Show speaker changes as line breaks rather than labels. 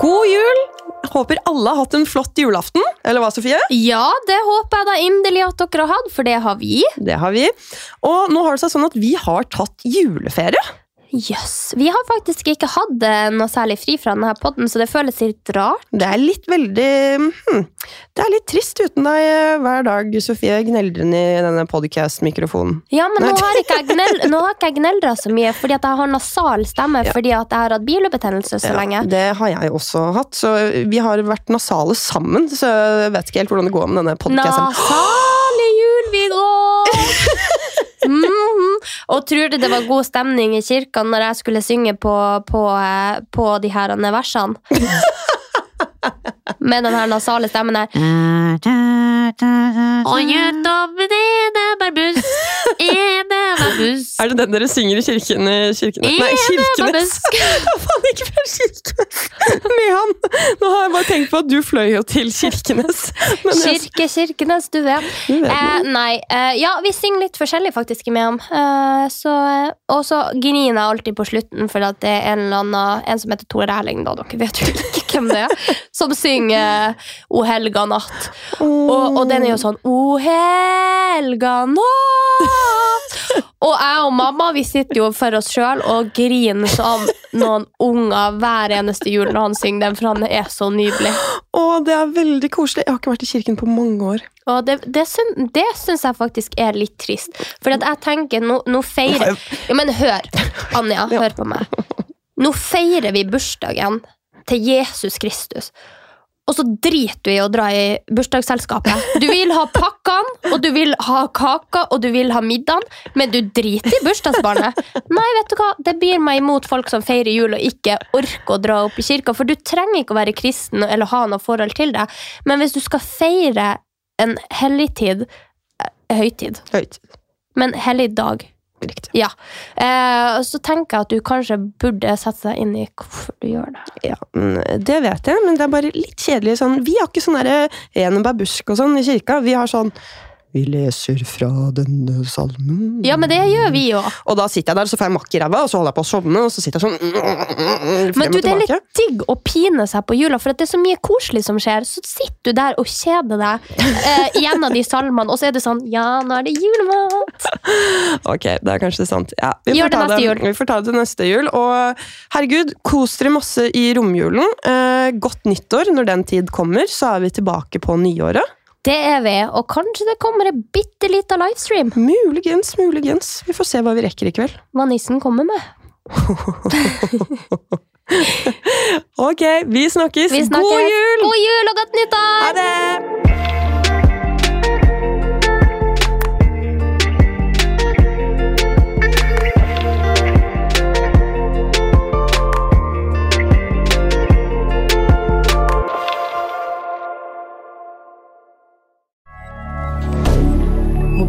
God jul! Håper alle har hatt en flott julaften. Eller hva, Sofie?
Ja, det håper jeg da inderlig at dere har hatt, for det har vi.
Det har vi. Og nå har det seg sånn at vi har tatt juleferie.
Jøss. Vi har faktisk ikke hatt eh, noe særlig fri fra denne podden, så det føles litt rart.
Det er litt veldig hmm, Det er litt trist uten deg eh, hver dag, Sofie, gneldrende i denne podcast-mikrofonen.
Ja, men
Nei.
nå har ikke jeg, gnel nå har ikke jeg gneldra så mye, fordi at jeg har nasal stemme fordi at jeg har hatt bilebetennelse så lenge.
Det har jeg også hatt. Så vi har vært nasale sammen, så jeg vet ikke helt hvordan det går med denne podcasten.
Nasale jul vi går! Mhm. Og tror du det var god stemning i kirka når jeg skulle synge på, på, eh, på de her versene? Med den her nasale stemmen her. Og gjennom Enebergbuss, Enebergbuss
Er det den dere synger i kirken? i kirken? Nei, Kirkenes! Faen, ikke fra Kirkenes! Med han! Nå har jeg bare tenkt på at du fløy jo til Kirkenes. Men jeg,
Kirke, Kirkenes, du vet.
Du vet
Eh, nei. Eh, ja, vi synger litt forskjellig faktisk i Mehamn. Eh, så- og så griner jeg alltid på slutten, for at det er en eller annen En som heter Tore Erling, da. Dere vet jo ikke hvem det er. Som synger eh, O helga natt. Og, og den er jo sånn O helga natt. Og jeg og mamma vi sitter jo for oss sjøl og griner som noen unger hver eneste jul når han synger den, for han er så nydelig.
å, det er veldig koselig. Jeg har ikke vært i kirken på mange år.
Og det, det, syn, det syns jeg faktisk er litt trist. For at jeg tenker, nå, nå feirer ja, Men hør, Anja, hør på meg. Nå feirer vi bursdagen til Jesus Kristus. Og så driter du i å dra i bursdagsselskapet. Du vil ha pakkene, og du vil ha kaka, og du vil ha middagen, men du driter i bursdagsbarnet. Nei, vet du hva? Det byr meg imot folk som feirer jul og ikke orker å dra opp i kirka, for du trenger ikke å være kristen eller ha noe forhold til det. Men hvis du skal feire en helligtid eh, Høytid.
Høyt.
Men hellig dag.
Riktig.
Ja. Eh, og så tenker jeg at du kanskje burde sette deg inn i hvorfor du gjør det.
Ja, mm, det vet jeg, men det er bare litt kjedelig. Sånn. Vi har ikke sånn derre ren babusk og sånn i kirka. Vi har sånn Vi leser fra denne salmen
Ja, men det gjør vi jo.
Og da sitter jeg der, så får jeg makk i ræva, og så holder jeg på å sovne, og så sitter jeg sånn frem
Men
og
du, det er
tilbake.
litt digg å pine seg på jula, for at det er så mye koselig som skjer. Så sitter du der og kjeder deg eh, gjennom de salmene, og så er det sånn Ja, nå er det julemat!
Ok, det er kanskje sant. Ja, vi,
Gjør
får ta
det neste jul.
vi får ta det til neste jul. Og herregud, kos dere masse i romjulen. Eh, godt nyttår når den tid kommer, så er vi tilbake på nyåret.
Det er vi, og kanskje det kommer en bitte lita livestream
Muligens, muligens. Vi får se hva vi rekker i kveld.
hva nissen kommer med.
Ok, vi snakkes.
Vi snakkes.
God jul!
God jul og godt nyttår!
Ha det!